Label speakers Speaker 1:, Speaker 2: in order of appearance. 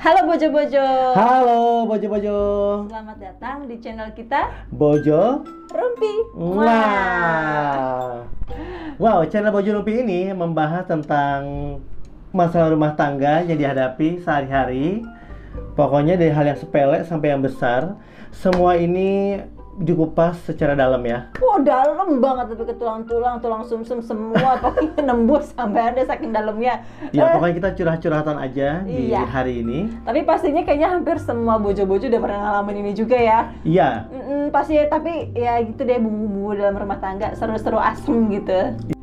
Speaker 1: Halo Bojo-Bojo.
Speaker 2: Halo bojo-bojo.
Speaker 1: Selamat datang di channel kita
Speaker 2: Bojo
Speaker 1: Rumpi. Wah.
Speaker 2: Wow. Wow, channel Bojo Lupi ini membahas tentang masalah rumah tangga yang dihadapi sehari-hari. Pokoknya dari hal yang sepele sampai yang besar, semua ini dikupas secara dalam ya.
Speaker 1: Wah, dalam banget tapi ke tulang-tulang, tulang sumsum semua pokoknya nembus sampai ada saking dalamnya.
Speaker 2: Ya,
Speaker 1: Eh,
Speaker 2: pokoknya kita curah-curhatan aja di
Speaker 1: Iya.
Speaker 2: hari ini.
Speaker 1: tapi pastinya kayaknya hampir semua bojo-bojo udah pernah ngalamin ini juga ya.
Speaker 2: Iya.
Speaker 1: Mm, mm, pasti tapi ya gitu deh bumbu-bumbu dalam rumah tangga seru-seru asem gitu.